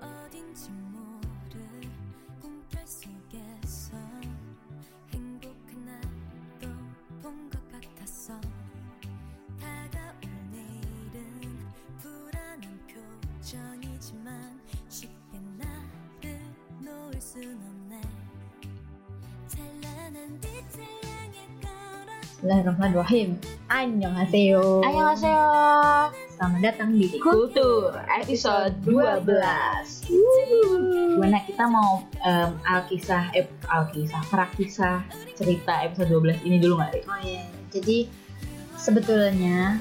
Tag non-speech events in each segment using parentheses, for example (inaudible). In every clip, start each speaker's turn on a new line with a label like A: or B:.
A: 어딘지 모를 꿈결 속에서 행복한 날도 본 것 같았어 다가올 내일은 불안한 표정이지만 쉽게 나를 놓을 순 없네 찬란한 빛을 향해 걸어
B: Bismillahirrahmanirrahim. Annyeonghaseyo.
C: Annyeonghaseyo.
B: Selamat datang di
C: Kultur episode 12 Gimana kita mau em, alkisah, eh alkisah, praktisah cerita episode 12 ini dulu gak Ri?
B: Oh iya. Jadi sebetulnya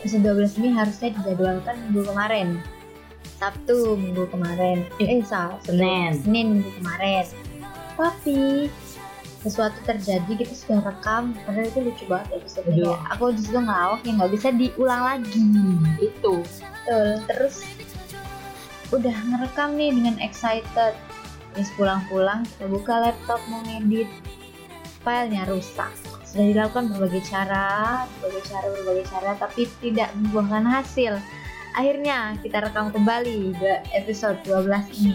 B: episode 12 ini harusnya dijadwalkan minggu kemarin. Sabtu minggu kemarin.
C: Iya.
B: Eh, Sabtu.
C: Senin.
B: Senin minggu kemarin. Tapi sesuatu terjadi kita sudah rekam padahal itu lucu banget episode
C: Aduh.
B: Kayak aku justru ngelawak yang nggak bisa diulang lagi
C: Itu
B: betul terus udah ngerekam nih dengan excited terus pulang-pulang kita buka laptop mau ngedit filenya rusak sudah dilakukan berbagai cara berbagai cara berbagai cara tapi tidak membuahkan hasil akhirnya kita rekam kembali ke episode 12 ini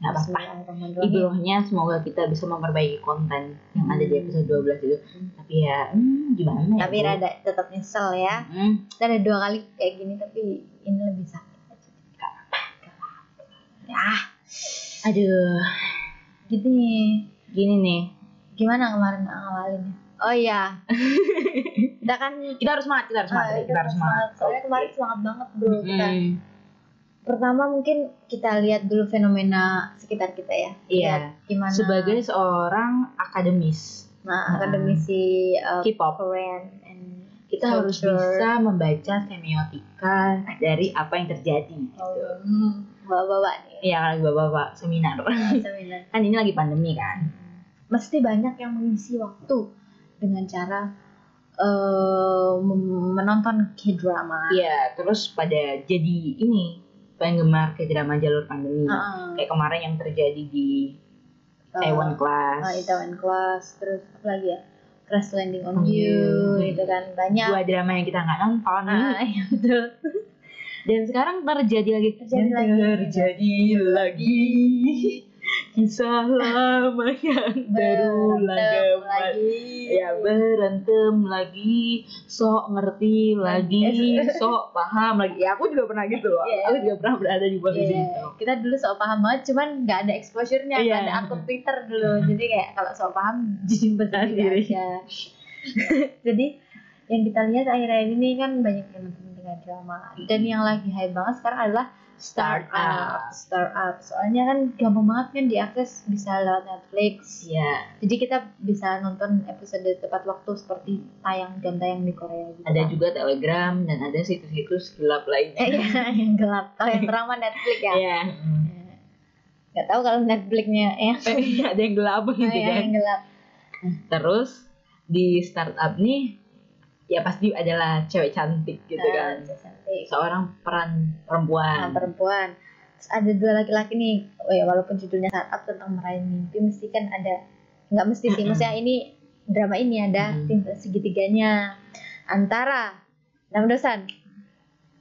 C: gak apa-apa Ibrahnya semoga kita bisa memperbaiki konten yang ada di episode 12 itu Tapi ya hmm, gimana ya
B: tapi
C: Bu?
B: rada tetap nyesel ya
C: Hmm,
B: kita ada dua kali kayak gini tapi ini lebih sakit aja
C: Gak
B: ya
C: Aduh
B: gitu nih
C: Gini nih
B: gimana kemarin ngawalinnya? Oh
C: (laughs)
B: iya, kita kan
C: Kita harus semangat, kita harus semangat
B: Ah, kita
C: Ri. Kita harus semangat
B: Soalnya kemarin semangat banget bro. Kita.
C: Hmm,
B: Pertama mungkin kita lihat dulu fenomena sekitar kita ya.
C: Iya.
B: Lihat Gimana?
C: Sebagai Hmm. seorang akademis
B: nah, akademisi uh,
C: K-pop
B: Korean and
C: kita harus
B: culture.
C: bisa membaca semiotika dari apa yang terjadi gitu.
B: Hmm, bawa-bawa nih.
C: Iya lagi bapak-bapak seminar. (laughs)
B: Seminar.
C: Kan ini lagi pandemi kan.
B: Mesti banyak yang mengisi waktu dengan cara eh, mem- menonton k-drama.
C: Iya, terus pada jadi ini penggemar ke drama jalur pandemi.
B: Ah,
C: Kayak kemarin yang terjadi di
B: ah.
C: Taiwan Class.
B: Oh, Itaewon Class, terus apa lagi ya? Crash Landing on
C: On
B: You,
C: You.
B: gitu kan banyak.
C: Oh, iya, Dua drama yang kita nggak nonton.
B: Ah, (laughs) iya, betul.
C: Dan sekarang terjadi lagi.
B: Terjadi
C: Dan
B: lagi.
C: Terjadi
B: (laughs)
C: lagi. Kisah lama yang
B: Berulang
C: berulang kembali. Ya
B: Iya.
C: berantem lagi, sok ngerti lagi, sok paham lagi. Ya aku juga pernah gitu loh.
B: Eh, Iya.
C: Aku juga pernah berada di posisi
B: Iya,
C: itu.
B: Kita dulu sok paham banget, cuman nggak ada exposure-nya, nggak
C: Iya.
B: ada akun Twitter dulu. Jadi kayak kalau sok paham, (laughs) jijik
C: Sendiri.
B: sendiri aja. (laughs) Jadi yang kita lihat akhir-akhir ini kan banyak yang nonton dengan drama. Dan yang lagi hype banget sekarang adalah startup,
C: Startup.
B: startup. Soalnya kan gampang banget kan diakses bisa lewat Netflix.
C: Iya,
B: Jadi kita bisa nonton episode tepat waktu seperti tayang jam tayang di Korea gitu.
C: ada juga Telegram dan ada situs-situs gelap lainnya.
B: Eh, iya, (laughs) yang gelap. Kalau yang terang mah Netflix ya.
C: (laughs) Iya.
B: Gak tahu kalau Netflixnya ya.
C: Iya, ada yang gelap (laughs) gitu
B: Iya,
C: kan.
B: yang gelap.
C: Terus di startup nih ya pasti adalah cewek cantik gitu
B: Nah,
C: kan.
B: cewek cantik.
C: Seorang peran
B: Nah,
C: perempuan.
B: perempuan. Terus ada dua laki-laki nih. Oh ya, walaupun judulnya startup tentang meraih mimpi, mesti kan ada. Nggak mesti sih.
C: Mm-mm.
B: Maksudnya ini drama ini ada
C: Mm.
B: tim segitiganya antara Nam Dosan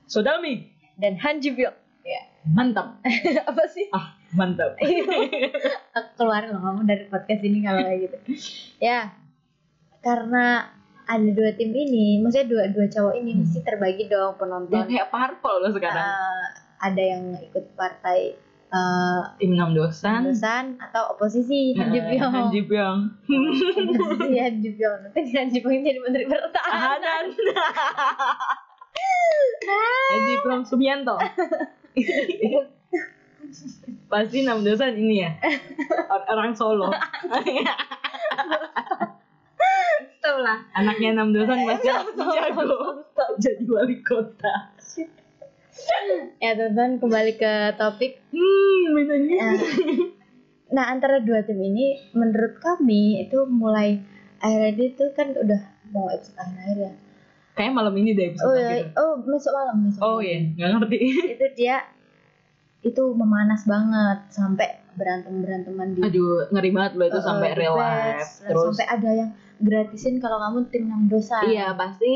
C: Sodami,
B: dan Han Ji Pyong.
C: mantap.
B: (laughs) Eh. Apa sih?
C: Ah, mantap.
B: (laughs) Aku keluarin loh kamu dari podcast ini kalau kayak gitu ya karena ada dua tim ini maksudnya dua dua cowok ini
C: Hmm.
B: mesti terbagi dong
C: Dia
B: penonton
C: kayak parpol loh sekarang.
B: Eh, ada yang ikut partai eh
C: Tim 6 dosan.
B: lulusan atau
C: Iya,
B: oposisi Kan Han Ji Pyong
C: Han Ji Pyong.
B: Oposisi Han Ji Pyong nanti Han Ji Pyong jadi menteri pertahanan
C: Ahanan. Han Ji Pyong Subianto. Pasti enam dosan ini ya. Or- Orang Solo.
B: Tau lah
C: Anaknya enam dosan pasti jago. Jadi wali kota.
B: ya tonton kembali ke topik
C: Hmm,
B: Eh,
C: minumnya.
B: nah antara dua tim ini menurut kami itu mulai akhirnya itu kan udah mau episode akhir ya
C: Kayak malam ini deh
B: oh
C: episode
B: ya
C: gitu.
B: oh besok malam besok
C: Oh
B: malam.
C: iya, nggak ngerti.
B: itu dia itu memanas banget sampai berantem beranteman di
C: Aduh, ngeri banget loh itu
B: Eh,
C: Oh, iya. sampai
B: eh, di
C: relapse.
B: pers.
C: Terus
B: sampai ada yang gratisin kalau kamu tim enam dosa
C: Iya pasti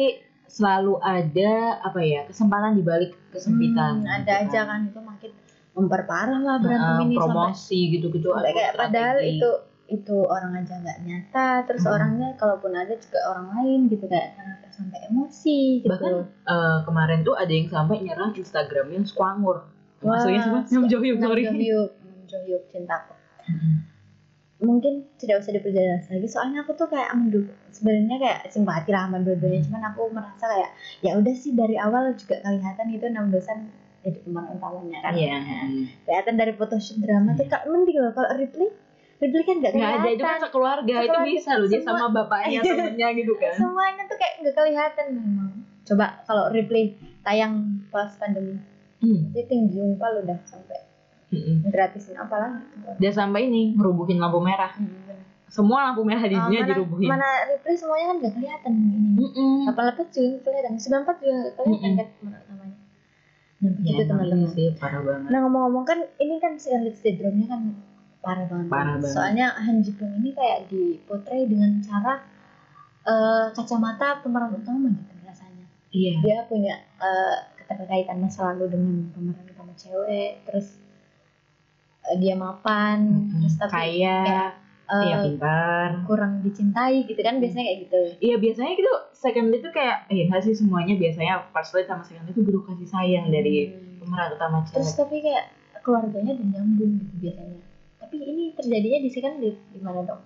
C: selalu ada apa ya kesempatan dibalik kesempitan.
B: Hmm, ada aja Hmm, kan itu makin memperparah lah berantem
C: Nah,
B: ini sampai
C: promosi gitu-gitu
B: sampai
C: aduh,
B: kayak padahal
C: strategi.
B: itu itu orang aja nggak nyata terus
C: Hmm.
B: orangnya kalaupun ada juga orang lain gitu kayak kenapa sampai emosi gitu
C: bahkan eh, kemarin tuh ada yang sampai nyerang Instagramnya Squangur
B: Wah,
C: maksudnya semua Nam Jo Hyuk,
B: Nam
C: sorry
B: Jo Hyuk, Nam Jo Hyuk, cintaku mungkin tidak usah diperjelas lagi soalnya aku tuh kayak mendukung sebenarnya kayak simpati lah sama dua-duanya
C: Hmm.
B: cuman aku merasa kayak ya udah sih dari awal juga kelihatan itu enam dosen jadi pemeran utamanya kan
C: Iya.
B: kelihatan dari photoshoot drama tuh kak mending loh kalau Ripley Ripley kan nggak
C: Nggak ada itu kan
B: kelihatan
C: sekeluarga, itu
B: Sekeluarga,
C: bisa loh dia
B: semua-
C: sama
B: (laughs)
C: bapaknya temennya gitu kan.
B: semuanya tuh kayak nggak kelihatan memang coba kalau Ripley tayang pas pandemi
C: Hmm.
B: itu tinggi jumpa lo udah sampai
C: Mm-mm.
B: gratisin apalah gitu.
C: Dia sampai ini ngerubuhin lampu merah. Semua lampu merah di
B: Oh,
C: dunia
B: mana,
C: dirubuhin. Hmm,
B: mana Ripley semuanya kan nggak kelihatan ini
C: Mm-mm.
B: 88 juga nggak kelihatan 94 juga nggak kelihatan
C: Mm-mm.
B: kan pemeran utamanya nah
C: Ya,
B: begitu
C: emang
B: teman-teman
C: ini sih parah banget.
B: nah ngomong-ngomong kan ini kan Scarlet Syndrome-nya kan parah banget
C: Parah banget.
B: soalnya Han Ji Pyeong ini kayak dipotret dengan cara eh, kacamata pemeran utama gitu rasanya
C: Iya.
B: dia punya eh, keterkaitan masa lalu dengan pemeran utama cewek terus eh, dia mapan
C: Mm-mm.
B: terus tapi
C: Kaya,
B: kayak, eh,
C: Hmm, iya pintar.
B: kurang dicintai gitu kan biasanya kayak gitu
C: Iya biasanya gitu second lead tuh kayak eh nggak sih semuanya biasanya first lead sama second lead tuh butuh kasih sayang dari
B: Hmm.
C: pemeran utama
B: terus
C: cewek.
B: tapi kayak keluarganya udah nyambung gitu biasanya tapi ini terjadinya di second lead gimana dong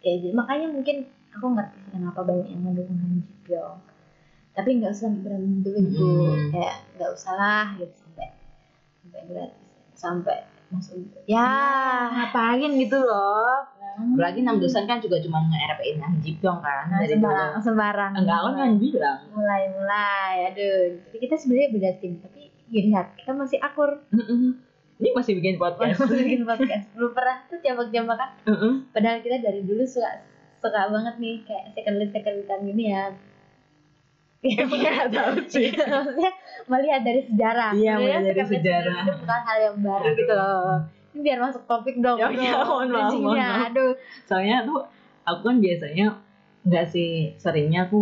B: kayak gitu. makanya mungkin aku ngerti sih kenapa banyak yang mendukung Han Ji Pyeong tapi nggak usah berantem dulu gitu
C: Hmm.
B: kayak nggak usah lah gitu sampai sampai gratis sampai masuk ya
C: ngapain gitu loh. Apalagi enam dosen kan juga cuma nge-RP-in Han Ji Pyong kan
B: Nah,
C: dari dulu.
B: sembarang sembarang
C: Enggak kan kan bilang.
B: mulai mulai aduh jadi kita sebenarnya beda tim tapi ya lihat kita masih akur
C: Mm-mm. Ini masih bikin podcast.
B: Masih bikin podcast belum pernah tuh kan? jambak-jambakan
C: Mm-mm.
B: padahal kita dari dulu suka suka banget nih kayak second lead second leadan gini ya
C: Iya, Nggak tahu sih.
B: (laughs) maksudnya melihat dari sejarah Sebenarnya
C: Iya, melihat dari
B: second lead,
C: sejarah.
B: second lead itu bukan hal yang baru
C: Aduh.
B: gitu loh ini biar masuk topik dong
C: Ya,
B: bro.
C: ya, mohon maaf, mohon
B: Bridgingnya,
C: maaf.
B: aduh
C: Soalnya tuh aku kan biasanya nggak sih seringnya aku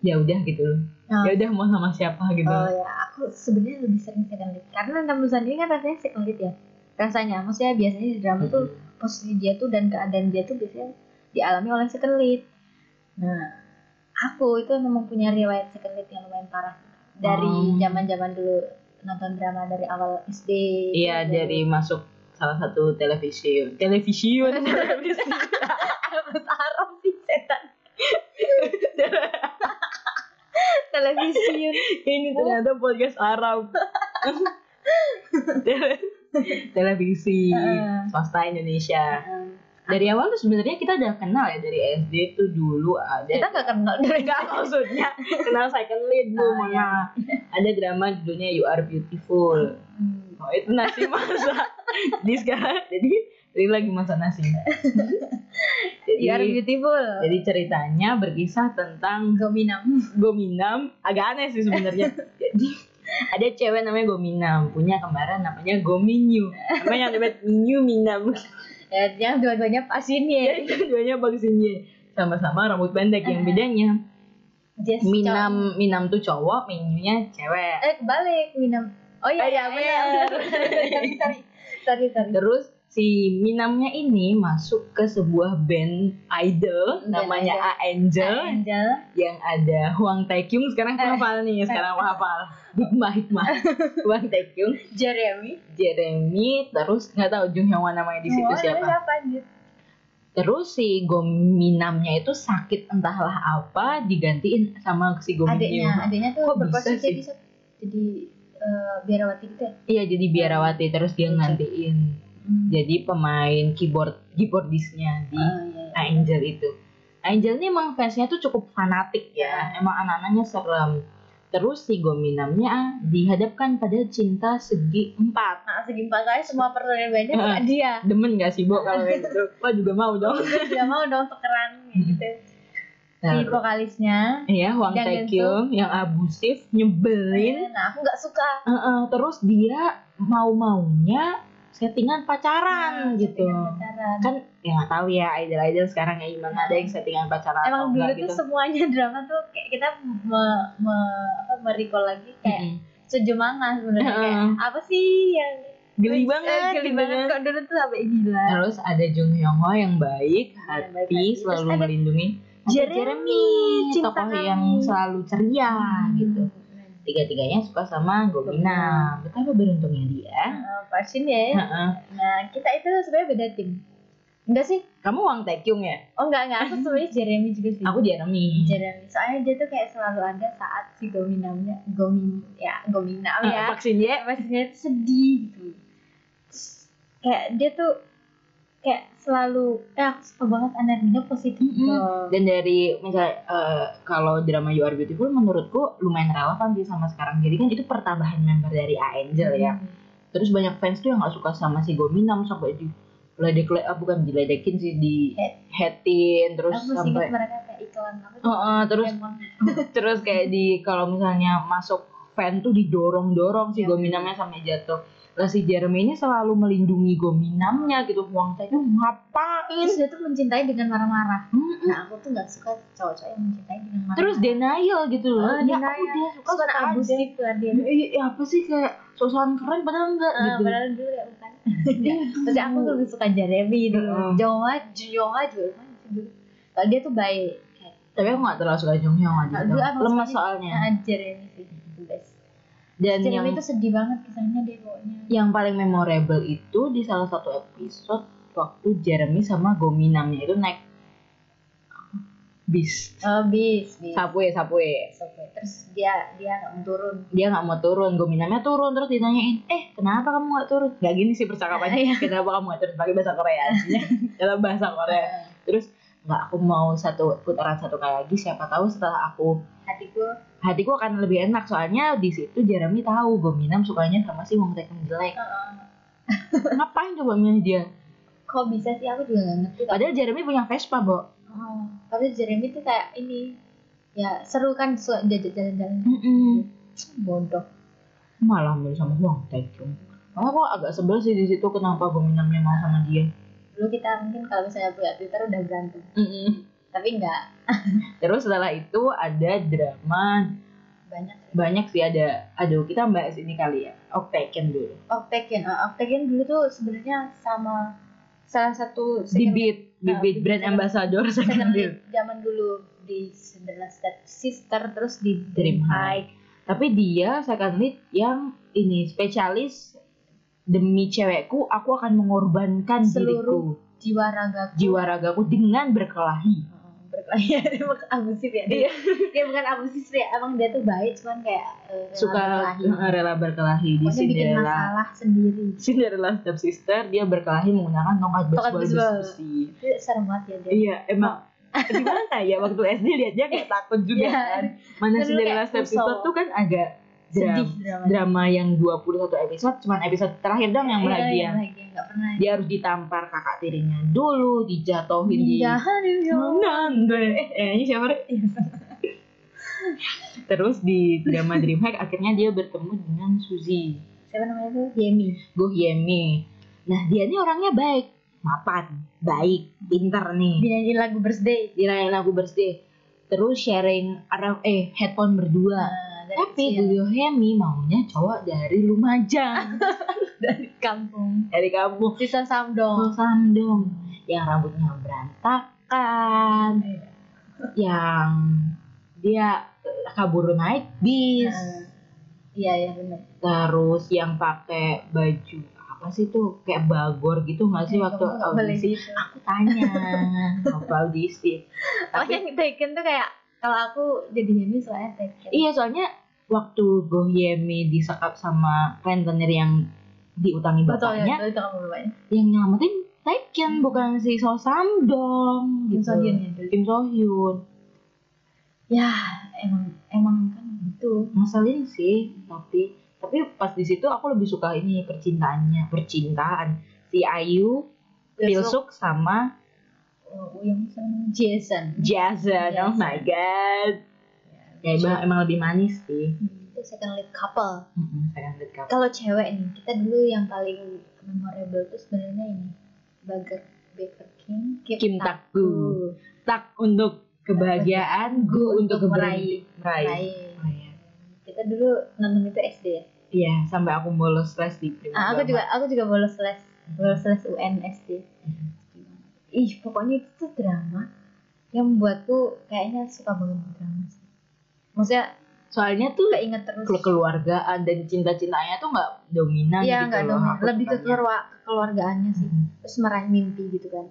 C: ya udah gitu loh.
B: Oh.
C: Ya udah mau sama siapa gitu.
B: oh ya aku sebenarnya lebih sering second lead karena tambusan ini kan rasanya second lead ya rasanya maksudnya biasanya di drama tuh posisi dia tuh dan keadaan dia tuh biasanya dialami oleh second lead. Nah, aku itu memang punya riwayat second lead yang lumayan parah dari
C: Oh.
B: zaman-zaman dulu nonton drama dari awal SD.
C: Iya
B: terus (laughs)
C: dari masuk salah satu televisi
B: (laughs)
C: televisi televisi
B: Mas Arab sih setan. (laughs) Televisiun.
C: (laughs) ini ternyata podcast Arab Tele- (laughs) televisi
B: Heeh.
C: swasta Indonesia
B: Heeh.
C: dari awal tuh sebenarnya kita udah kenal ya dari SD tuh dulu
B: Kita
C: ada
B: gak kenal dari
C: enggak maksudnya kenal second lead bu
B: Oh,
C: mohon
B: iya.
C: maaf. Ah, ada drama judulnya You Are Beautiful
B: Hmm.
C: oh itu nasi masak di sekarang (laughs) jadi ini lagi masak (laughs) nasi jadi
B: You are beautiful.
C: jadi ceritanya berkisah tentang
B: Gominam.
C: Gominam agak aneh sih sebenarnya. Jadi ada cewek namanya Gominam punya kembaran namanya Gominyu. Oh, Namanya namanya Minyu Minam. Iya,
B: Ya, yang dua-duanya pasin ya.
C: Keduanya bagusnya sama-sama rambut pendek yang bedanya
B: Jess Chong.
C: Minam Minam tuh cowok, Minyunya cewek.
B: Eh, balik Minam. Oh iya,
C: Oh, iya,
B: iya, iya. sorry, sorry. (laughs) Sorry, sorry.
C: Terus si Minamnya ini masuk ke sebuah band idol Ah, iya.
B: Band
C: namanya
B: idol.
C: A Angel
B: Angel.
C: yang ada Huang Taekyung sekarang aku
B: Eh.
C: hafal nih sekarang aku (laughs) hafal hikmah hikmah Huang Taekyung
B: Jeremy.
C: Jeremy terus nggak tahu Jung Hyun Wan namanya di situ
B: Oh,
C: siapa.
B: siapa anjir?
C: Terus si Gominamnya itu sakit entahlah apa digantiin sama si
B: Adiknya,
C: Gominyu.
B: adiknya tuh
C: Kok bisa
B: berposisi
C: sih?
B: jadi sep- jadi eh, biarawati gitu ya. Hmm.
C: Iya jadi biarawati terus dia ngantiin jadi pemain keyboard keyboardisnya di
B: Oh, iya, iya.
C: Angel itu. Angel ini emang fansnya tuh cukup fanatik ya, emang anak-anaknya serem. Terus si Gominamnya dihadapkan pada cinta segi empat.
B: Nah, segi empat saya semua personil bandnya
C: Ah.
B: suka dia.
C: Demen gak sih Bo kalau kayak gitu? Wah juga mau dong.
B: Dia tidak mau dong
C: Hmm.
B: tukeran kayak gitu. Si
C: Terus-
B: vokalisnya.
C: Iya, Huang
B: Dan
C: Taekyung yang abusif, nyebelin.
B: Nah, aku nggak suka.
C: Eh, eh, terus dia mau-maunya settingan
B: Nah,
C: pacaran gitu.
B: dengan pacaran.
C: Kan ya nggak tahu ya idol-idol sekarang kayak gimana ada yang settingan pacaran
B: Emang
C: atau
B: dulu
C: enggak
B: tuh
C: gitu.
B: semuanya drama tuh kayak kita me, me, apa, merecall lagi kayak
C: Mm-mm.
B: sejumlah sebenarnya kayak
C: Hmm. Heeh.
B: apa sih yang
C: geli banget gitu kan?"
B: geli banget kok dulu tuh sampai gila
C: terus ada Jung Hyung Ho yang baik hati
B: baik hati. Terus
C: selalu
B: ada
C: melindungi Ada
B: Jeremy, cinta Hmm.
C: tokoh
B: kami.
C: yang selalu ceria gitu tiga-tiganya suka sama Gomina betapa beruntungnya dia
B: Nah, Parsin ya
C: Heeh.
B: nah kita itu sebenarnya beda tim enggak sih
C: kamu Wang Taekyung ya
B: oh enggak enggak aku sebenarnya Jeremy juga sih
C: aku Jeremy
B: Iya. Jeremy soalnya dia tuh kayak selalu ada saat si Gominamnya Gomin ya Gominam
C: Heeh,
B: ya
C: vaksin dia
B: maksudnya tuh sedih gitu Terus kayak dia tuh kayak selalu eh aku suka banget energinya positif gitu.
C: Mm-mm.
B: loh.
C: dan dari misalnya eh, kalau drama You Are Beautiful menurutku lumayan relevan sih sama sekarang jadi kan itu pertambahan member dari Angel ya
B: Hmm.
C: terus banyak fans tuh yang nggak suka sama si Gominam sampai di ledek le- ah, bukan diledekin sih di
B: Head.
C: hatin terus
B: aku masih (laughs) ingat
C: sampai
B: mereka kayak iklan apa
C: Heeh, Oh, terus
B: Doraemon.
C: terus kayak di kalau misalnya masuk fan tuh didorong-dorong si
B: Ya.
C: Gominamnya sampai jatuh lah si Jeremy ini selalu melindungi Gominamnya gitu Wang saya ngapain
B: terus dia tuh mencintai dengan marah-marah
C: Mm-mm.
B: nah aku tuh nggak suka cowok-cowok yang mencintai dengan marah-marah
C: Mm. terus denial gitu loh
B: Oh,
C: ya
B: denial.
C: aku dia suka
B: suka
C: suka aja
B: abusif lah dia
C: Ya, iya, iya, apa sih kayak sosokan keren padahal enggak
B: Eh,
C: gitu
B: padahal dulu ya
C: (laughs)
B: bukan Maksudnya aku tuh lebih suka Jeremy dulu
C: Heeh.
B: Jonga Jonga juga lumayan sih dulu kalau dia tuh baik kayak
C: tapi aku gak terlalu suka Jong Hyung aja
B: Nah, dulu abang
C: lemas
B: sendiri-
C: soalnya
B: nah, Jeremy sih the best
C: Ah, dan yang Iya.
B: Jeremy tuh sedih banget kisahnya dia pokoknya
C: yang paling memorable itu di salah satu episode waktu Jeremy sama Gominamnya itu naik bis
B: oh bis bis
C: subway subway
B: Oke, terus dia dia nggak mau turun
C: dia nggak mau turun Gominamnya turun terus ditanyain eh kenapa kamu nggak turun nggak gini
B: (laughs)
C: sih
B: Nah, iya.
C: percakapannya "Eh, kenapa kamu nggak turun pakai bahasa Korea aslinya. dalam bahasa Korea terus nggak aku mau satu putaran satu kali lagi siapa tahu setelah aku
B: hatiku
C: hatiku akan lebih enak soalnya di situ Jeremy tahu Gominam sukanya sama si Wong Taekyong jelek (laughs) ngapain coba milih dia
B: kok bisa sih aku juga nggak ngerti kok.
C: padahal Jeremy punya Vespa bo
B: Oh, tapi Jeremy tuh kayak ini ya seru kan suka diajak jalan-jalan bodoh
C: malah milih sama Wong Taekyong malah aku agak sebel sih di situ kenapa Gominamnya mau sama dia
B: dulu kita mungkin kalau misalnya punya Twitter udah berantem tapi nggak
C: terus setelah itu ada drama
B: banyak
C: banyak sih ada aduh kita bahas ini kali ya Oh Taekyong dulu
B: Octagon uh, Octagon dulu tuh sebenarnya sama salah satu second-
C: Bibit Bibit
B: Bibit
C: brand
B: second-
C: ambassador
B: second (laughs)
C: second
B: lead zaman dulu di Cinderella Step Sister terus di
C: Dream High. tapi dia second lead yang ini spesialis demi cewekku aku akan mengorbankan
B: Seluruh
C: diriku
B: jiwa ragaku
C: jiwa ragaku dengan berkelahi
B: Uh, berkelahi (laughs) dia bukan abusif (laughs) ya
C: Iya.
B: dia, dia bukan abusif sih emang dia tuh baik cuman kayak eh, rela
C: suka
B: berkelahi.
C: eh, rela berkelahi di
B: pokoknya bikin
C: Cinderella
B: masalah sendiri
C: Cinderella Step Sister dia berkelahi menggunakan tongkat
B: Tongkat
C: baseball
B: baseball.
C: besi
B: itu serem banget ya dia
C: iya emang gimana ya waktu SD liatnya kayak takut juga
B: Iya.
C: kan mana
B: Terus
C: Cinderella
B: kayak
C: Step
B: musuh.
C: Sister tuh kan agak
B: sedih
C: dram-
B: dramanya.
C: drama yang 21 episode cuman episode terakhir dong yang
B: Iya,
C: bahagia
B: yang bahagia nggak pernah
C: dia harus ditampar kakak tirinya dulu dijatuhin di
B: Jahat, ya.
C: Nande. eh kayaknya siapa Re? (laughs) terus di drama Dreamhack akhirnya dia bertemu dengan Suzy
B: siapa namanya tuh Yemi
C: Gohyemi nah dia ini orangnya baik mapan baik pintar nih
B: dinyanyi lagu birthday
C: dirayain lagu birthday terus sharing around, eh headphone berdua
B: Nah, dari
C: tapi
B: kecil.
C: Gohyemi maunya cowok dari Lumajang
B: dari kampung
C: dari kampung
B: season Samdong
C: Oh, Sandung yang rambutnya berantakan yang dia eh, kabur naik bis
B: Nah, iya iya benar
C: terus yang pakai baju apa sih tuh kayak bagor gitu
B: Eh,
C: nggak sih waktu audisi
B: gitu
C: aku tanya waktu audisi
B: oh yang Taken tuh kayak kalau aku jadi Yemi soalnya Taken
C: iya soalnya waktu Gohyemi disekap sama rentenir yang diutangi
B: betul ya
C: bapaknya
B: betul itu kamu bapaknya
C: yang nyelamatin Taekyun bukan si So Samdong
B: Kim
C: gitu.
B: So Hyun ya dulu
C: Kim So Hyun
B: ya emang emang kan gitu
C: ngeselin sih tapi tapi pas di situ aku lebih suka ini percintaannya percintaan si Ayu Pilsuk sama
B: Oh, Uyung sama namanya Jason
C: Jason oh
B: Jason.
C: my god ya
B: Jason.
C: emang, emang lebih manis sih
B: Hmm, itu second lead couple
C: Mm-mm, second lead couple.
B: kalau cewek nih kita dulu yang paling memorable tuh sebenarnya ini Burger Baker King
C: Kim Tak Gu tak untuk kebahagiaan gu untuk
B: (laughs) Untuk meraih.
C: meraih meraih
B: Lain. kita dulu nonton itu SD ya
C: Iya, sampai aku bolos les di Prima
B: Ah, aku
C: Dama.
B: juga aku juga bolos les bolos les UNSD ih pokoknya itu tuh drama yang membuatku kayaknya suka banget drama sih maksudnya
C: Soalnya tuh
B: keinget terus
C: kekeluargaan dan cinta-cintanya tuh nggak dominan
B: Iya
C: gitu
B: nggak
C: loh.
B: dong,
C: Aku
B: lebih ke
C: sukanya.
B: keluarga, keluargaannya sih.
C: Mhm.
B: Terus meraih mimpi gitu kan,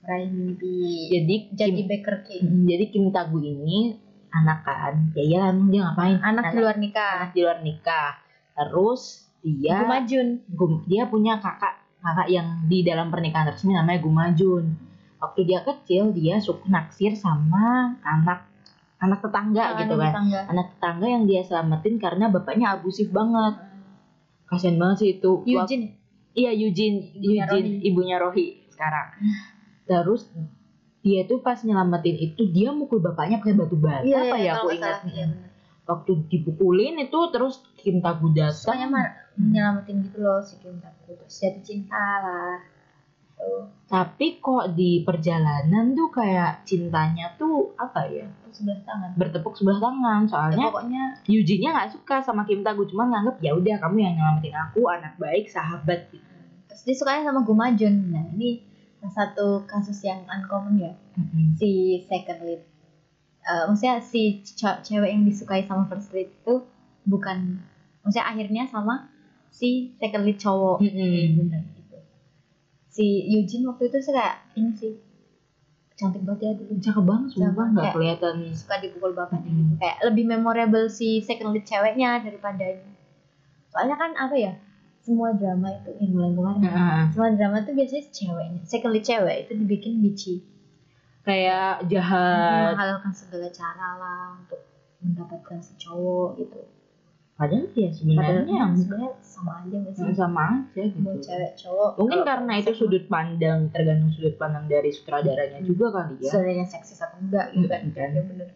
B: meraih mimpi
C: Jadi
B: jadi
C: Kim,
B: baker king.
C: Mm, jadi Kim Tagu ini anak kan. Ya iya emang dia ngapain?
B: Anak di luar nikah.
C: anak di luar nikah. Terus dia
B: Guma Jun.
C: Gum- dia punya kakak kakak yang di dalam pernikahan resmi namanya Gumajun. Waktu dia kecil dia suka naksir sama anak anak tetangga
B: sama
C: gitu
B: anak
C: kan.
B: tetangga.
C: Anak tetangga yang dia selamatin karena bapaknya abusif banget. Kasian banget sih itu. Wak-
B: Yujin.
C: Iya Yujin,
B: Ibunya
C: Yujin
B: Rohi.
C: ibunya Rohi sekarang. Terus dia tuh pas nyelamatin itu dia mukul bapaknya pakai batu bata
B: Iya,
C: apa
B: iya,
C: ya
B: kalau
C: aku
B: nggak salah.
C: ingat
B: Iya, benar.
C: waktu dipukulin itu terus Kim Tagu datang
B: Pokoknya mar- menyelamatin gitu loh si Kim Taku. Terus jadi cinta lah. Gitu. Tuh,
C: tapi kok di perjalanan tuh kayak cintanya tuh apa ya
B: terus sebelah tangan.
C: bertepuk sebelah tangan
B: Ya,
C: soalnya
B: pokoknya
C: Yujinya nggak suka sama Kim Tagu cuma nganggep ya udah kamu yang nyelamatin aku anak baik sahabat gitu
B: terus dia sukanya sama Guma Jun. Nah ini salah satu kasus yang uncommon ya. si second lead Eh, maksudnya si ce- cewek yang disukai sama first lead itu bukan maksudnya akhirnya sama si second lead cowok
C: Hmm. Mm-mm.
B: Bener, gitu. si Eugene waktu itu sih kayak ini sih cantik banget ya dulu
C: cakep banget sumpah
B: Cakep,
C: nggak
B: kayak-
C: kelihatan
B: suka dipukul bapaknya
C: Mm.
B: gitu. kayak lebih memorable si second lead ceweknya daripada ini soalnya kan apa ya semua drama itu yang bulan kemarin
C: Nah,
B: semua drama tuh biasanya ceweknya second lead cewek itu dibikin bici
C: kayak jahat
B: menghalalkan segala cara lah untuk mendapatkan si cowok gitu.
C: padahal ya
B: Padahal
C: sebenarnya
B: kan sebenarnya sama aja nggak sih?
C: yang sama aja gitu
B: Mau cewek cowok.
C: mungkin
B: kalau
C: karena itu
B: sama-
C: sudut pandang tergantung sudut pandang dari sutradaranya
B: Hmm.
C: juga kali ya
B: saudaranya seksis atau enggak gitu kan?
C: Mm, kan.
B: Ya bener.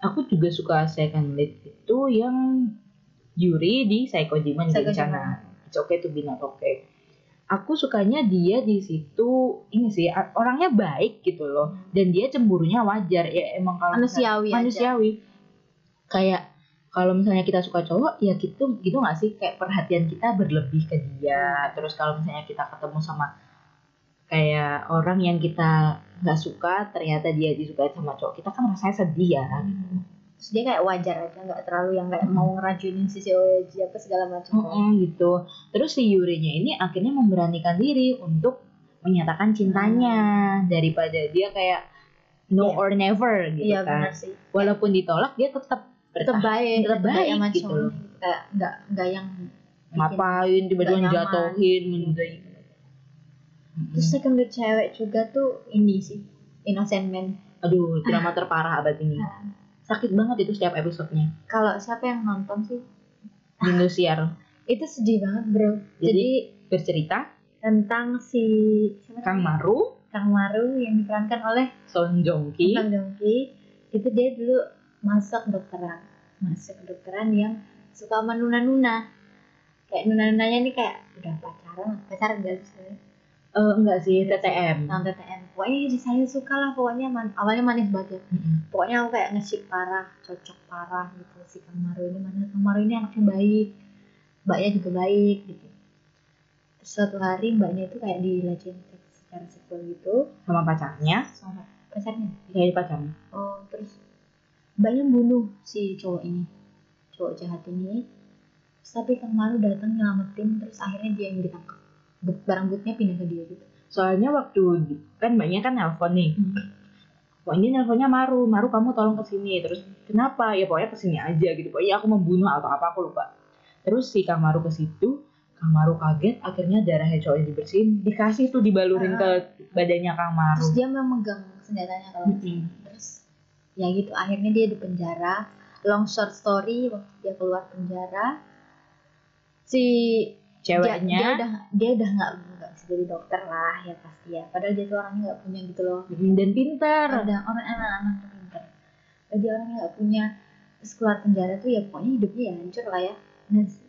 C: aku juga suka second lead itu yang Yuri di Psycho Demon
B: Psycho
C: Bencana. It's okay to be not okay. Aku sukanya dia di situ ini sih a- orangnya baik gitu loh
B: Hmm.
C: dan dia cemburunya wajar ya emang kalau misalnya-
B: Manusiawi aja.
C: manusiawi. Kayak kalau misalnya kita suka cowok ya gitu gitu nggak sih kayak perhatian kita berlebih ke dia terus kalau misalnya kita ketemu sama kayak orang yang kita nggak suka ternyata dia disukai sama cowok kita kan rasanya sedih ya
B: Terus dia kayak wajar aja, nggak terlalu yang kayak mau ngeracunin si cewek dia apa segala macam.
C: Mm-mm, gitu. Terus si Yurinya ini akhirnya memberanikan diri untuk menyatakan cintanya daripada dia kayak no
B: Iya.
C: or never gitu
B: Iya
C: kan.
B: benar sih.
C: Walaupun ditolak dia tetap
B: Tetap
C: bertahan.
B: baik,
C: tetap baik
B: sama
C: gitu
B: cowoknya
C: loh.
B: gitu. Kayak nggak nggak yang bikin-
C: Ngapain tiba-tiba
B: nggak nyaman.
C: jatuhin menudai. Hmm.
B: Terus second lead cewek juga tuh ini sih Innocent Man.
C: Aduh, drama terparah abad ini.
B: Ah.
C: Iya. Sakit banget itu setiap episodenya.
B: Kalau siapa yang nonton sih
C: Indosiar
B: itu sedih banget bro.
C: Jadi-
B: Jadi
C: bercerita
B: tentang si siapa
C: Kang
B: namanya?
C: Maru,
B: Kang Maru yang diperankan oleh
C: Son Jong Ki.
B: Kang Dongki itu dia dulu masuk dokteran masuk dokteran yang suka sama nuna-nuna kayak nuna-nunanya ini kayak udah pacaran pacaran gak sih
C: Eh, enggak sih, TTM.
B: nonton TTM pokoknya jadi saya suka lah pokoknya man- awalnya manis banget ya
C: Mm-mm.
B: pokoknya aku kayak ngesip parah cocok parah gitu si Kang Maru ini mana Kang Maru ini anaknya baik mbaknya juga baik gitu Terus suatu hari mbaknya itu kayak dilecehin secara seksual gitu
C: Sama pacarnya,
B: sama pacarnya
C: dari pacarnya.
B: Oh, terus mbaknya bunuh si cowok ini, cowok jahat ini. Terus tapi Kang Maru datang nyelamatin, terus akhirnya dia yang ditangkap. But- Barang butnya pindah ke dia gitu.
C: Soalnya waktu kan mbaknya kan nelpon nih.
B: Hmm.
C: Pokoknya nelponnya Maru, Maru kamu tolong kesini. Terus kenapa? Ya pokoknya kesini aja gitu. Pokoknya aku membunuh atau apa aku lupa. Terus si Kang Maru ke situ, Kang Maru kaget. Akhirnya darahnya cowoknya dibersihin, dikasih tuh dibalurin ke badannya Kang Maru.
B: Ah. Terus dia memang megang senjatanya kalau nggak
C: Mm-mm.
B: salah. terus ya gitu akhirnya dia di penjara. Long short story waktu dia keluar penjara si dia,
C: Ceweknya,
B: dia udah dia udah nggak nggak bisa jadi dokter lah ya pasti ya. Padahal dia tuh orangnya nggak punya gitu loh
C: mm, dan pintar.
B: ada orang anak-anak tuh pinter jadi orang yang nggak punya terus keluar penjara tuh ya pokoknya hidupnya ya hancur lah ya nah si,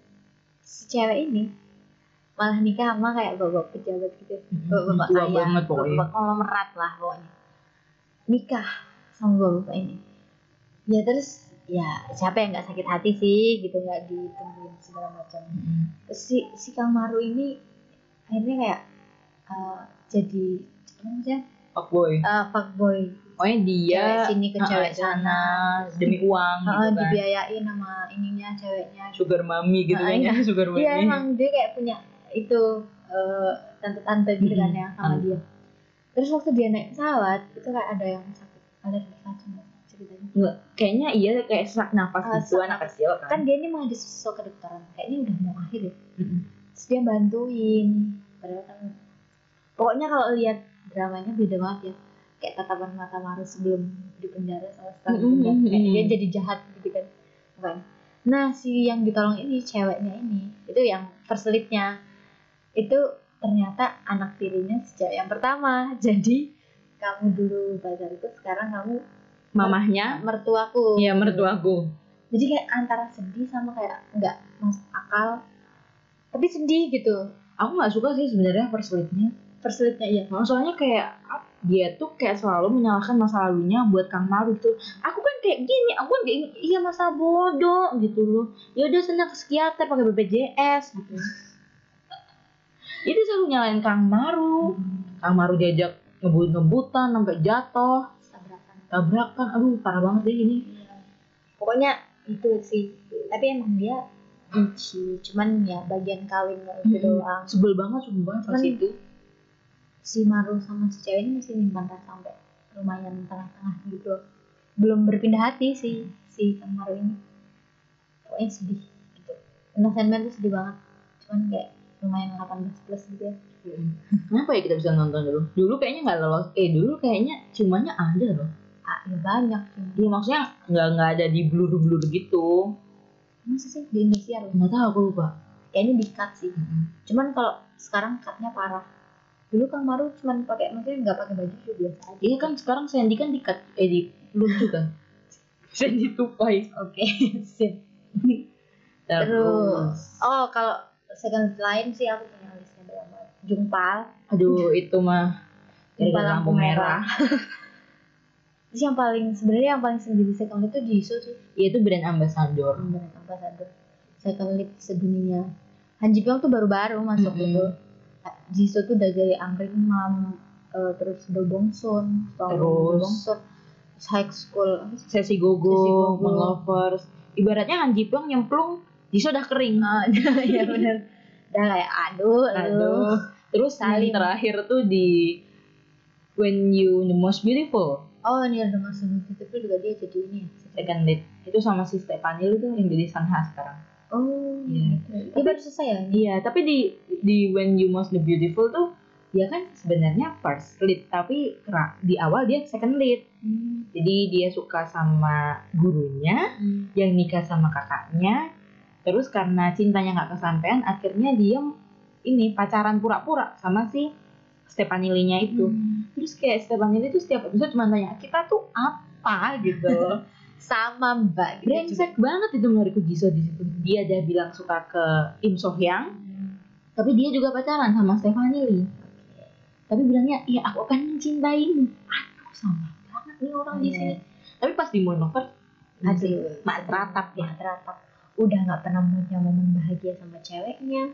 B: si cewek ini malah nikah sama kayak bapak pejabat gitu bapak-bapak
C: Hmm, Tua
B: kaya
C: banget pokoknya.
B: bapak konglomerat lah pokoknya nikah sama bapak-bapak ini ya terus ya siapa yang nggak sakit hati sih gitu nggak ditungguin segala macam
C: Hmm,
B: Terus si si Kang Maru ini akhirnya kayak eh, jadi apa namanya
C: Fuckboy.
B: Eh, fuckboy
C: Pokoknya dia
B: cewek sini ke
C: uh-uh,
B: cewek sana
C: demi uang
B: Heeh,
C: gitu kan.
B: dibiayain sama ininya ceweknya
C: Sugar mami gitu
B: Ah,
C: kan ya, sugar mami.
B: Iya emang dia kayak punya itu eh, tante-tante gitu kan ya sama
C: Mm-mm.
B: dia. Terus waktu dia naik pesawat itu kayak ada yang sakit alergi racun ceritanya.
C: Nggak, kayaknya iya kayak sesak nafas
B: Ah,
C: gitu
B: sesak
C: anak
B: nafas.
C: kecil kan.
B: Kan dia ini mau disusul ke dokteran kayaknya udah mau akhir ya.
C: Mm-mm.
B: Terus dia bantuin. Padahal kan pokoknya kalau lihat dramanya beda banget ya. Kayak tatapan mata Maru sebelum di penjara sama setelah di
C: Mm-mm,
B: penjara. Kayak
C: mm-mm.
B: dia jadi jahat gitu kan. Bukan. Nah si yang ditolong ini ceweknya ini itu yang perselitnya itu ternyata anak tirinya sejak yang pertama. (laughs) Jadi kamu dulu pacar itu sekarang kamu
C: mamahnya
B: mertuaku.
C: Iya mertuaku.
B: Jadi kayak antara sedih sama kayak nggak masuk akal. Tapi sedih gitu
C: Aku nggak suka sih sebenarnya persulitnya.
B: perselitnya iya.
C: Nah, soalnya kayak ap- dia tuh kayak selalu menyalahkan masa lalunya buat Kang Maru gitu. Aku kan kayak gini, aku kan kayak gini. Iya masa bodoh gitu loh. Ya udah sana ke psikiater pakai BPJS gitu. Jadi selalu nyalain Kang Maru. Kang Maru diajak ngebut-ngebutan sampai jatuh,
B: tabrakan.
C: tabrakan. Aduh, parah banget deh ini.
B: Pokoknya itu sih. Tapi emang dia benci. Cuman ya bagian kawinnya itu
C: Mm-mm.
B: doang.
C: Sebel banget, sebel banget pas
B: Cuman-
C: itu.
B: Si Maru sama si cewek ini masih nyimpan rasa sampai lumayan tengah-tengah gitu. Belum berpindah hati sih si Kang Maru ini. Pokoknya sedih gitu. Innocent Man tuh sedih banget. Cuman kayak lumayan 18 plus gitu ya.
C: Kenapa ya kita bisa nonton dulu? Dulu kayaknya nggak lolos. Eh dulu kayaknya cumanya ada loh.
B: Ah, ya banyak sih.
C: Iya maksudnya nggak nggak ada di blur-blur gitu.
B: Masa sih di Indonesia loh?
C: Nggak tahu aku lupa.
B: Kayaknya di cut sih. Cuman kalau sekarang cutnya parah. Dulu Kang Maru cuman pakai maksudnya nggak pakai baju sih biasa aja.
C: Iya kan sekarang Sandy kan di cut, eh di blur juga. (laughs) Sandy tupai.
B: Oke, (laughs) sip. Terus, oh kalau second lain sih aku punya listnya berapa? Jumpal,
C: Aduh itu mah.
B: Jumpal
C: Gara-gara
B: lampu merah. Terus yang paling sebenarnya yang paling sendiri second lead itu Jisoo sih
C: Iya itu brand ambassador.
B: sebenarnya ambassador second lead sedunia. Han Ji Pyong tuh baru-baru masuk
C: Mm-mm.
B: gitu. Jisoo tuh udah jadi angkring mam, eh, terus Do Bong Sun, Song Do
C: Terus-
B: Bong Sun, terus High School, apa sih?
C: Sesi
B: Sesi
C: gogo,
B: Gogo.
C: Bang lovers. Ibaratnya Han Ji Pyong nyemplung, Jisoo udah kering.
B: Ah, (laughs) iya benar. Udah kayak aduh, aduh.
C: Aduh. Nah. Terus
B: Salim.
C: yang terakhir tuh di When You the Most Beautiful
B: Oh, ini ada Mas itu juga dia jadi ini ya.
C: second lead itu sama si Stephanie itu yang jadi Sanha sekarang.
B: Oh,
C: Iya.
B: Dia baru selesai ya? ini?
C: Iya, tapi di di When You Most the Beautiful tuh dia kan sebenarnya first lead tapi kera- di awal dia second lead. Jadi dia suka sama gurunya yang nikah sama kakaknya. Terus karena cintanya nggak kesampaian, akhirnya dia ini pacaran pura-pura sama si Stephanie Lee-nya itu. terus kayak Stefan ini tuh setiap episode cuma tanya kita tuh apa gitu (laughs) loh
B: Sama
C: Iya,
B: Mbak. gitu
C: brengsek banget itu menurutku Jisoo di situ dia ada bilang suka ke Im Sohyang
B: juga. Hmm.
C: tapi dia juga pacaran sama Stephanie Lee tapi bilangnya iya aku akan mencintaimu aduh sama banget nih orang di
B: Iya.
C: sini tapi pas di Monover
B: Aduh,
C: mak teratap ya
B: mak teratap. Udah nggak pernah punya momen bahagia sama ceweknya.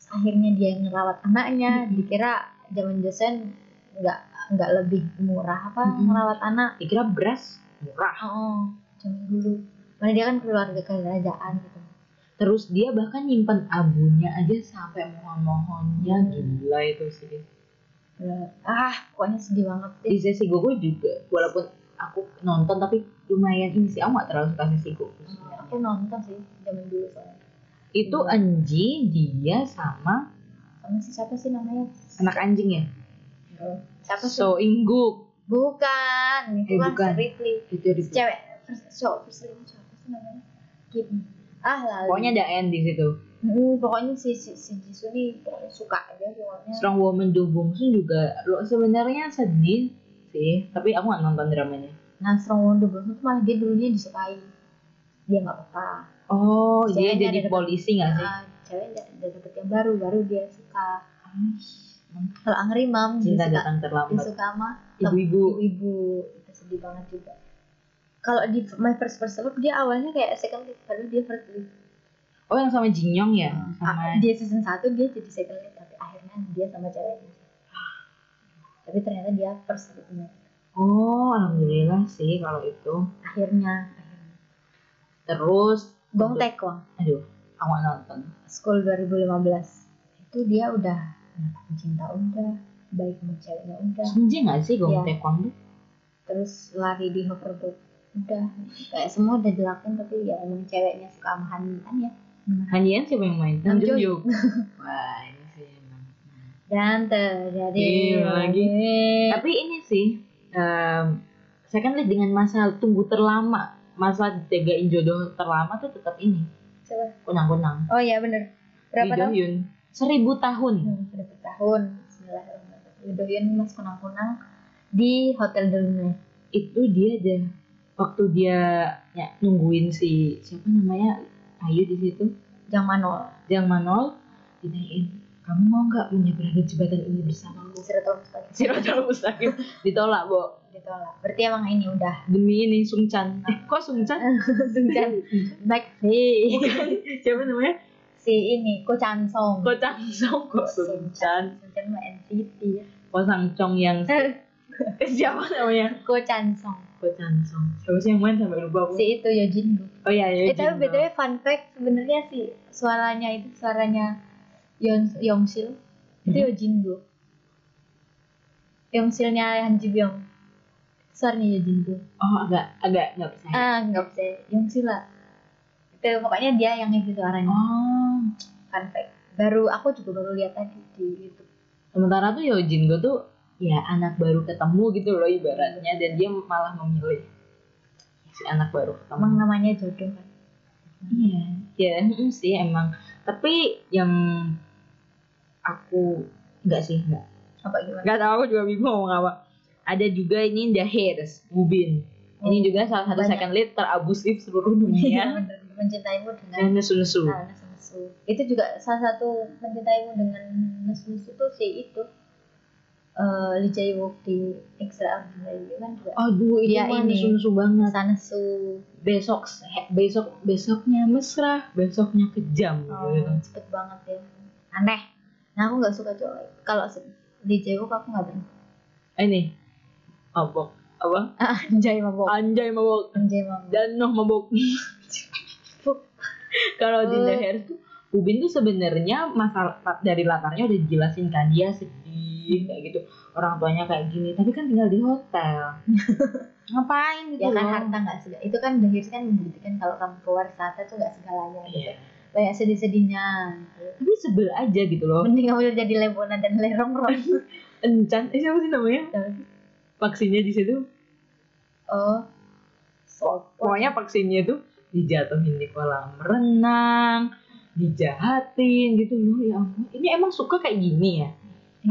B: Terus akhirnya dia yang ngerawat anaknya.
C: Hmm.
B: Dikira zaman dosen nggak nggak lebih murah apa
C: Mm-mm.
B: ngerawat anak.
C: dikira beras murah
B: Oh, zaman dulu. Mana dia kan keluarga kerajaan gitu.
C: terus dia bahkan nyimpen abunya aja sampai mohon-mohonnya gila itu sih
B: Ah, pokoknya sedih banget deh.
C: di sesi gogo juga walaupun aku nonton tapi lumayan ini sih aku gak terlalu suka sesi gogo sebenarnya.
B: Aku nonton sih zaman dulu soalnya.
C: itu Anji dia sama
B: Sama si siapa sih namanya?
C: anak anjing ya
B: Siapa sih?
C: So Ingguk
B: Bukan, itu
C: Eh,
B: kan
C: bukan.
B: Ripley.
C: itu di
B: Si Cewek, first- so, first lady, siapa sih namanya? Kim. Ah lalu.
C: pokoknya ada N di situ
B: Mm, pokoknya si si, si Jisoo nih pokoknya suka aja pokoknya.
C: Strong Woman Do Bong Soon juga lo sebenarnya sedih sih tapi aku gak nonton dramanya
B: Nah, Strong Wonder Woman tuh malah dia dulunya disukai. Dia nggak apa-apa.
C: oh dia Ah,
B: Ceweknya
C: jadi
B: ada-
C: polisi gak Iya sih
B: Nah, cewek udah udah dapet yang baru, baru dia suka.
C: Ay,
B: Kalau Angri Mam dia
C: cinta
B: suka,
C: datang
B: dia
C: terlambat
B: suka sama
C: ibu-ibu
B: ibu-ibu. Itu sedih banget juga. kalau di My First First Love dia awalnya kayak second lead padahal dia first lead
C: Oh yang sama Jinyoung ya?
B: Ah,
C: Sama
B: dia season 1 dia jadi second lead tapi akhirnya dia sama ceweknya tapi ternyata dia first leadnya
C: Oh alhamdulillah sih kalau itu.
B: akhirnya
C: Terus
B: Gong Taekwon
C: Aduh, aku nggak nonton.
B: School 2015 itu dia udah dapat cinta udah baik sama ceweknya udah
C: Senja nggak sih Gong
B: Iya.
C: Taekwon tuh?
B: terus lari di hoverboard udah kayak semua udah dilakuin tapi ya emang ceweknya suka sama Hanian ya
C: Hanian siapa yang main?
B: Nam Jung. (laughs)
C: Yuk. Wah ini sih emang.
B: dan terjadi
C: Iya, lagi. Tapi ini sih em, second lead dengan masa tunggu terlama masa jagain jodoh terlama tuh tetap ini
B: Coba.
C: kunang-kunang.
B: oh ya bener berapa
C: Lee
B: tahun
C: Do-hyun. Seribu tahun.
B: Hmm, berapa tahun Bismillahirrahmanirrahim Doyan mas kunang-kunang di hotel Deluna
C: Itu dia deh waktu dia ya, nungguin si siapa namanya Ayu di situ.
B: Jang Manol
C: Jang Manol ditanyain kamu mau nggak menyeberangi jembatan ini bersamaku?
B: Sirotol Mustaqim
C: Sirotol Mustaqim (laughs) ditolak, Bo.
B: ditolak berarti emang ini udah (laughs)
C: Demi ini Sungchan. Eh, kok Sungchan? Iya kan?
B: Sungjan Blackpink
C: Siapa namanya?
B: si ini Ko Chan Song
C: Ko Chang Song, Ko Sungchan.
B: Sungjan mah NCT
C: Ko Sang Chong yang Eh, siapa namanya?
B: (laughs) Ko Chan Song
C: Ko Chang Song. Siapa sih yang main sampai lupa aku?
B: si itu Yojin Gu
C: Oh iya,
B: eh
C: ya.
B: tapi btw fun fact sebenarnya si suaranya itu suaranya Yeon Yongsil itu
C: Hmm.
B: Yojin Gu Yongsilnya Han Ji Byung suaranya Yojin Gu
C: Oh, agak agak nggak percaya.
B: ah nggak bisa yang sila itu pokoknya dia yang ngisi suaranya
C: Oh.
B: fun fact baru aku juga baru lihat tadi di YouTube
C: Sementara tuh Yojin gue tuh ya anak baru ketemu gitu loh ibaratnya dan dia malah memilih si anak baru ketemu.
B: emang namanya jodoh kan
C: Iya, ya mm, sih emang. Tapi yang aku enggak sih, enggak.
B: apa gimana
C: Enggak tahu aku juga bingung mau ngomong apa. Ada juga ini The Hairs, Bubin. Ini juga salah satu
B: Banyak.
C: second lead terabusif seluruh
B: Oh. (laughs) Iya,
C: dunia.
B: bener. mencintaimu dengan
C: Dan nesu-nesu.
B: nah, nesu itu juga salah satu mencintaimu dengan nesu itu si itu eh Lee Jae Wook di Extra Ordinary itu kan juga
C: Aduh, itu
B: Iya,
C: mah
B: ini.
C: nesu-nesu banget.
B: masa nesu
C: Besok, besok, besoknya mesra, besoknya kejam.
B: oh,
C: gitu.
B: cepet banget ya aneh nah aku nggak suka cowok kalau si- Lee Jae Wook aku nggak berani
C: Ini, mabok. Apa?
B: (laughs) anjay mabok
C: Anjay mabok.
B: anjay mabok
C: Dan noh mabok. kalau di The
B: Oh.
C: Hair tuh Ubin tuh sebenarnya masalah dari latarnya udah dijelasin kan dia sedih kayak gitu orang tuanya kayak gini tapi kan tinggal di
B: (laughs)
C: hotel ngapain gitu
B: ya kan
C: loh.
B: harta nggak segala itu kan akhirnya kan membuktikan kalau kamu keluar harta tuh nggak segalanya gitu
C: Iya.
B: banyak sedih-sedihnya gitu.
C: tapi sebel aja gitu loh
B: mending kamu jadi lebona dan
C: (laughs)
B: lerong-rong
C: encan eh siapa sih namanya vaksinnya di situ
B: oh sopo
C: pokoknya vaksinnya tuh dijatuhin di kolam renang dijahatin gitu loh ya ampun ini emang suka kayak gini ya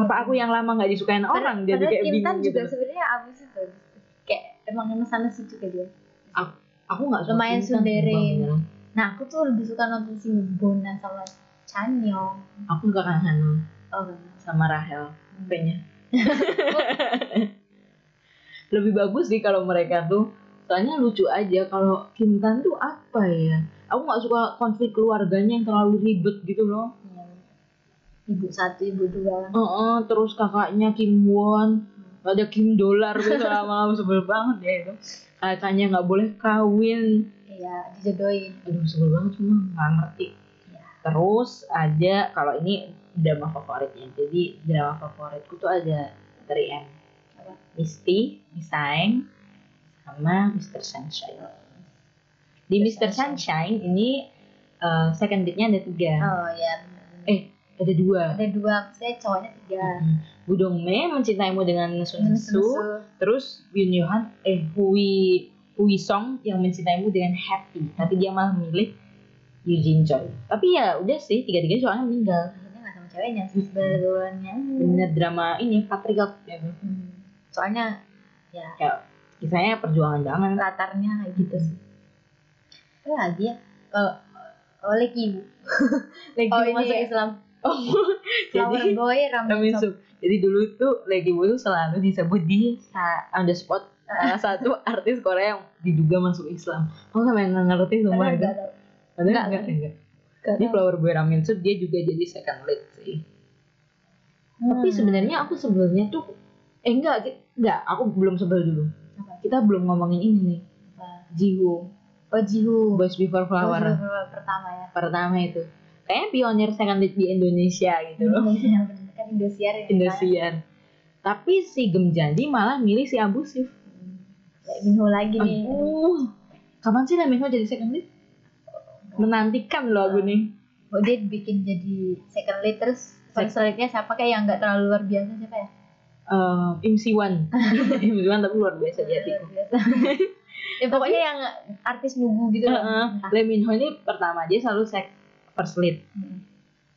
C: apa aku yang lama nggak disukain orang jadi
B: Padahal
C: kayak
B: Intan
C: bingung gitu
B: juga sebenarnya abis itu kayak emang sana sih juga dia
C: aku nggak suka
B: lumayan
C: Intan,
B: sundere.
C: sumpah, beneran.
B: nah aku tuh lebih suka nonton si Bona sama Chanyong
C: aku suka kan Hana
B: oh kan
C: sama Rahel kayaknya (laughs) lebih bagus sih kalau mereka tuh soalnya lucu aja kalau Kim Tan tuh apa ya aku nggak suka konflik keluarganya yang terlalu ribet gitu loh
B: Iya. ibu satu ibu dua
C: Heeh, terus kakaknya Kim Won ada Kim Dolar gitu (laughs) lama-lama sebel banget ya itu kakaknya nggak boleh kawin
B: ya dijodohin
C: aduh sebel banget cuma nggak ngerti terus ada kalau ini drama favoritnya jadi drama favoritku tuh ada 3M
B: Apa?
C: Misty, Miss Aeng, sama Mr. Sunshine di Mr. Sunshine ini eh, second date-nya ada tiga
B: oh ya bener.
C: Eh, ada dua
B: ada dua saya cowoknya tiga
C: Hmm. Bu Dongme mencintaimu dengan nesu-nesu
B: Nesu.
C: terus Yun Yohan eh Hui Hui Song yang mencintaimu dengan happy tapi dia malah memilih Eugene Choi tapi ya udah sih tiga-tiga soalnya meninggal
B: akhirnya nggak sama ceweknya sih sebenarnya
C: bener drama ini patriot gitu.
B: Hmm. soalnya ya
C: kisahnya perjuangan banget
B: latarnya kayak gitu sih apa lagi ya Eh, oleh ibu
C: lagi
B: oh, masuk Islam
C: (laughs) Oh,
B: Flower
C: jadi (laughs)
B: Boy Ramen
C: Ramen
B: Sop.
C: Soup. Jadi dulu tuh Lady Wu tuh selalu disebut di sa- on the spot salah satu artis Korea yang diduga masuk Islam. Kamu sampai nggak ngerti
B: Padahal
C: semua itu?
B: nggak tahu.
C: Padahal
B: Nggak,
C: nggak, nggak.
B: Nggak
C: Di
B: tahu.
C: Flower Boy Ramen Soup dia juga jadi second lead sih. Tapi
B: Hmm.
C: sebenarnya aku sebelumnya tuh eh enggak ki- enggak aku belum sebel dulu. Kita belum ngomongin ini nih.
B: Apa?
C: Jiwoo,
B: Oh Jihu
C: Boys Before Flower
B: pertama ya
C: pertama itu. Kayaknya pionir second lead di Indonesia gitu (laughs) loh.
B: Iya, bener. kan Indosiar ya
C: Indosiar. Tapi si Gemjanji malah milih si abusif.
B: Kayak Minho lagi nih
C: Aduh. Kapan sih Lamino jadi second lead? Menantikan loh aku nih.
B: Oh dia bikin jadi second lead terus first leadnya siapa kayak yang nggak terlalu luar biasa siapa ya?
C: Eh, Im (laughs) Siwan. Im Siwan tapi luar biasa di
B: (laughs)
C: hatiku.
B: Luar biasa. ya pokoknya yang artis nubu gitu loh.
C: Heeh. Leminho ini pertama dia selalu sek first lead.
B: Hmm.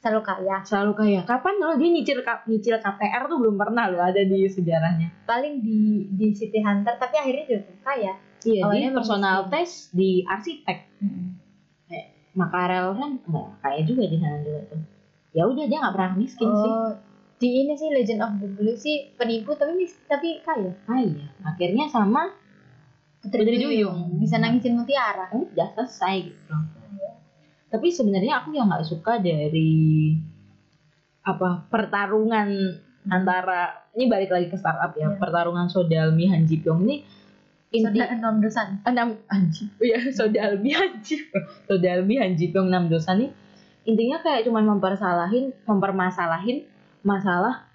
B: Selalu kaya.
C: Selalu kayak kapan loh dia nyicil K- nyicil KPR tuh belum pernah loh ada di sejarahnya.
B: Paling di di City Hunter tapi akhirnya juga kaya.
C: Iya,
B: Awalnya
C: dia personal
B: pemiskin.
C: test di arsitek. Makarel kan nggak kaya juga di sana dulu tuh. Ya udah dia nggak pernah miskin sih.
B: Oh, di ini sih Legend of the Blue sih penipu tapi mis- tapi kaya.
C: Kaya. Ah, iya. Akhirnya sama Putri Duyung.
B: bisa nangisin mutiara.
C: udah selesai gitu loh. Tapi sebenarnya aku yang nggak suka dari apa pertarungan antara ini balik lagi ke startup ya,
B: Iya.
C: pertarungan Sodalmi Han Ji Pyong ini inti
B: Sudah enam dosan.
C: enam anji (laughs) ya Sodalmi Han Ji Pyong. Sodalmi Han Ji Pyong enam dosa nih intinya kayak cuman mempersalahin mempermasalahin masalah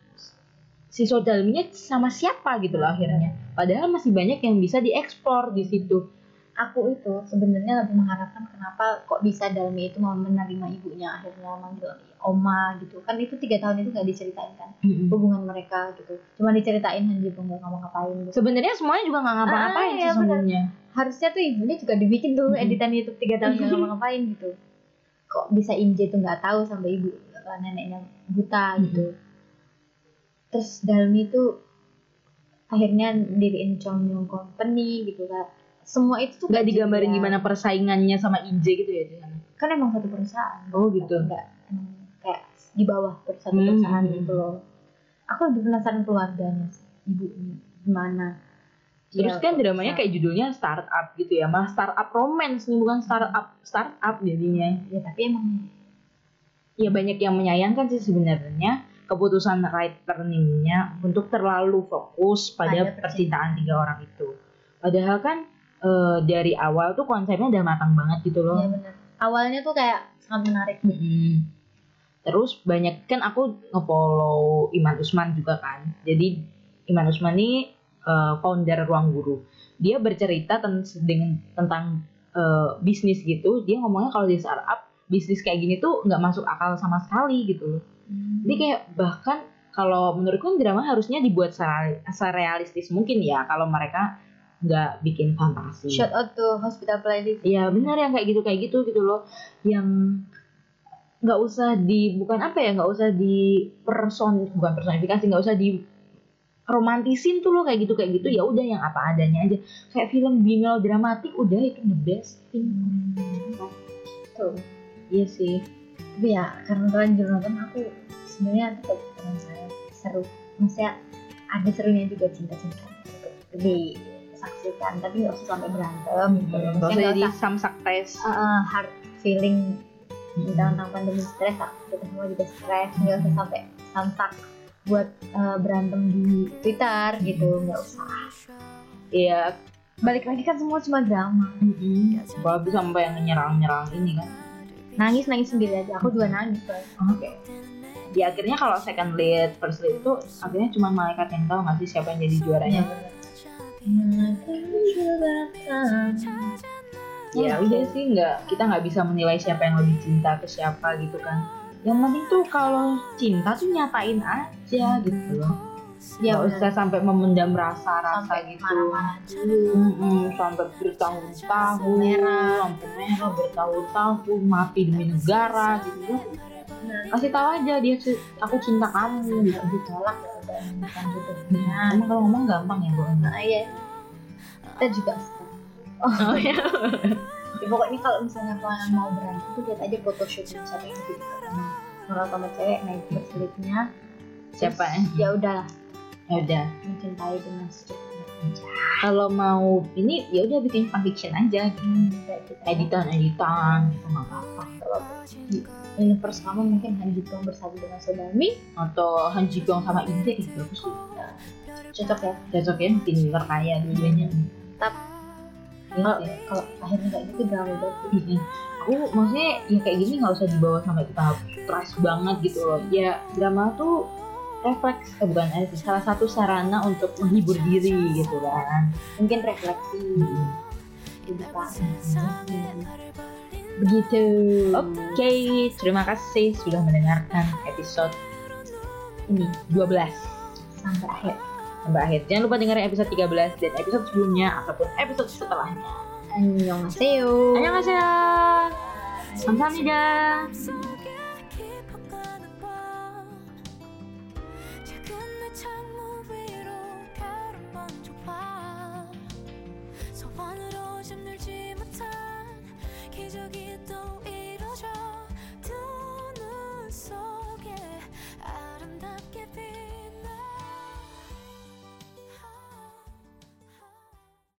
C: si Sodalminya sama siapa gitu loh akhirnya padahal masih banyak yang bisa diekspor di situ
B: Aku itu sebenarnya lebih mengharapkan kenapa kok bisa Dalmi itu mau menerima ibunya akhirnya manggil Oma gitu kan itu tiga tahun itu nggak diceritain kan hubungan mereka gitu cuma diceritain Han Ji Pyeong nggak ngapa-ngapain gitu
C: sebenarnya semuanya juga nggak
B: Ah,
C: ngapa-ngapain sih
B: iya, benar.
C: sebenarnya
B: harusnya tuh ibunya juga dibikin tuh
C: Mhm.
B: editan YouTube tiga tahun nggak ngapa-ngapain gitu kok bisa Inje tuh nggak tahu sampai ibu eh, neneknya buta
C: Mhm.
B: gitu terus Dalmi tuh akhirnya diriin Chongyong Company gitu kan semua itu tuh
C: nggak digambarin
B: kejadian.
C: gimana persaingannya sama Inje gitu ya di sana
B: kan emang satu perusahaan
C: oh gitu
B: enggak kayak di bawah per- satu
C: Hmm.
B: perusahaan gitu loh aku lebih penasaran keluarganya sih ibu ini gimana Dia
C: terus kan
B: kok
C: dramanya
B: bisa-
C: kayak judulnya startup gitu ya malah startup romance nih bukan startup startup jadinya
B: ya tapi emang
C: ya banyak yang menyayangkan sih sebenarnya keputusan writer-nya untuk terlalu fokus pada,
B: Pada
C: percintaan tiga orang itu padahal kan eh, dari awal tuh konsepnya udah matang banget gitu loh
B: ya benar awalnya tuh kayak sangat menarik
C: Mm-mm. Terus banyak kan aku ngefollow Iman Usman juga kan. Jadi Iman Usman ini eh, founder Ruang Guru. Dia bercerita ten- dengan tentang eh, bisnis gitu. Dia ngomongnya kalau di startup bisnis kayak gini tuh nggak masuk akal sama sekali gitu. Jadi kayak bahkan kalau menurutku drama harusnya dibuat sere- serealistis mungkin ya kalau mereka nggak bikin fantasi.
B: shout out to hospital playlist
C: Ya benar yang kayak gitu kayak gitu gitu loh yang nggak usah di bukan apa ya nggak usah di person bukan personifikasi nggak usah di romantisin tuh loh kayak gitu kayak gitu ya udah yang apa adanya aja kayak film bimal dramatik udah itu the best thing
B: tuh
C: iya sih
B: tapi ya karena terlanjur nonton aku sebenarnya tetap penasaran seru maksudnya ada serunya juga cinta-cinta gitu. di saksikan tapi nggak usah sampai berantem gitu loh.
C: Hmm. nggak
B: Maksudnya
C: usah
B: nggak
C: jadi
B: usah
C: samsak tes
B: uh, uh, hard feeling
C: Ah.
B: tentang tentang pandemi stres aku kita semua juga stres nggak usah sampai samsak buat uh, berantem di Twitter gitu nggak usah
C: iya
B: balik lagi kan semua cuma drama Ya,
C: bagus sampai yang nyerang nyerang ini kan
B: nangis nangis sendiri aja aku juga nangis kan
C: oke ya akhirnya kalau second lead first lead itu akhirnya cuma malaikat yang tahu nggak sih siapa yang jadi juaranya
B: Iya.
C: ya udah sih nggak kita nggak bisa menilai siapa yang lebih cinta ke siapa gitu kan yang penting tuh kalau cinta tuh nyatain aja gitu loh
B: ya
C: ya
B: udah
C: usah sampai memendam rasa-rasa
B: sampai
C: gitu
B: marah-marah
C: Mm-mm, sampai bertahun-tahun
B: Merah.
C: lampu merah bertahun-tahun mati demi negara gitu kasih tahu aja dia tuh, aku cinta kamu gitu
B: ditolak ya udah bukan gitu
C: nah, emang kalau ngomong gampang ya bu
B: nah iya kita juga suka.
C: oh ya
B: ya, pokoknya kalau misalnya kalian mau berantem tuh lihat aja photoshoot yang satu itu gitu. Nah, kalau sama cewek naik berselitnya
C: Siapa?
B: Terus ya udahlah
C: Ya udah.
B: mencintai dengan secukupnya aja
C: Kalau mau ini ya udah bikin fanfiction aja.
B: hmm, kayak kita
C: Editan editan gitu nggak apa-apa.
B: kalau di universe kamu mungkin hanya gitu bersatu dengan Sodami
C: Atau Han Ji Pyong sama Im Jae itu bagus tuh.
B: cocok ya
C: Cocok ya bikin user kaya dua-duanya. ya?
B: kalau kalau akhirnya kayak gitu drama banget
C: Mm-mm. Aku maksudnya ya kayak gini nggak usah dibawa sampai kita trust banget gitu loh. Ya drama tuh refleks eh, bukan eh, salah satu sarana untuk menghibur diri gitu kan.
B: mungkin refleksi
C: Mm.
B: juga
C: Begitu. Oke, terima kasih sudah mendengarkan episode ini 12
B: sampai akhir
C: sampai akhir. Jangan lupa dengerin episode 13 dan episode sebelumnya ataupun episode setelahnya.
B: 안녕하세요
C: Annyeonghaseyo. Samsahamnida.
A: 속에 깊어가는 밤 작은 내 창문 위로 가을 먼저 봐 소원으로 잠들지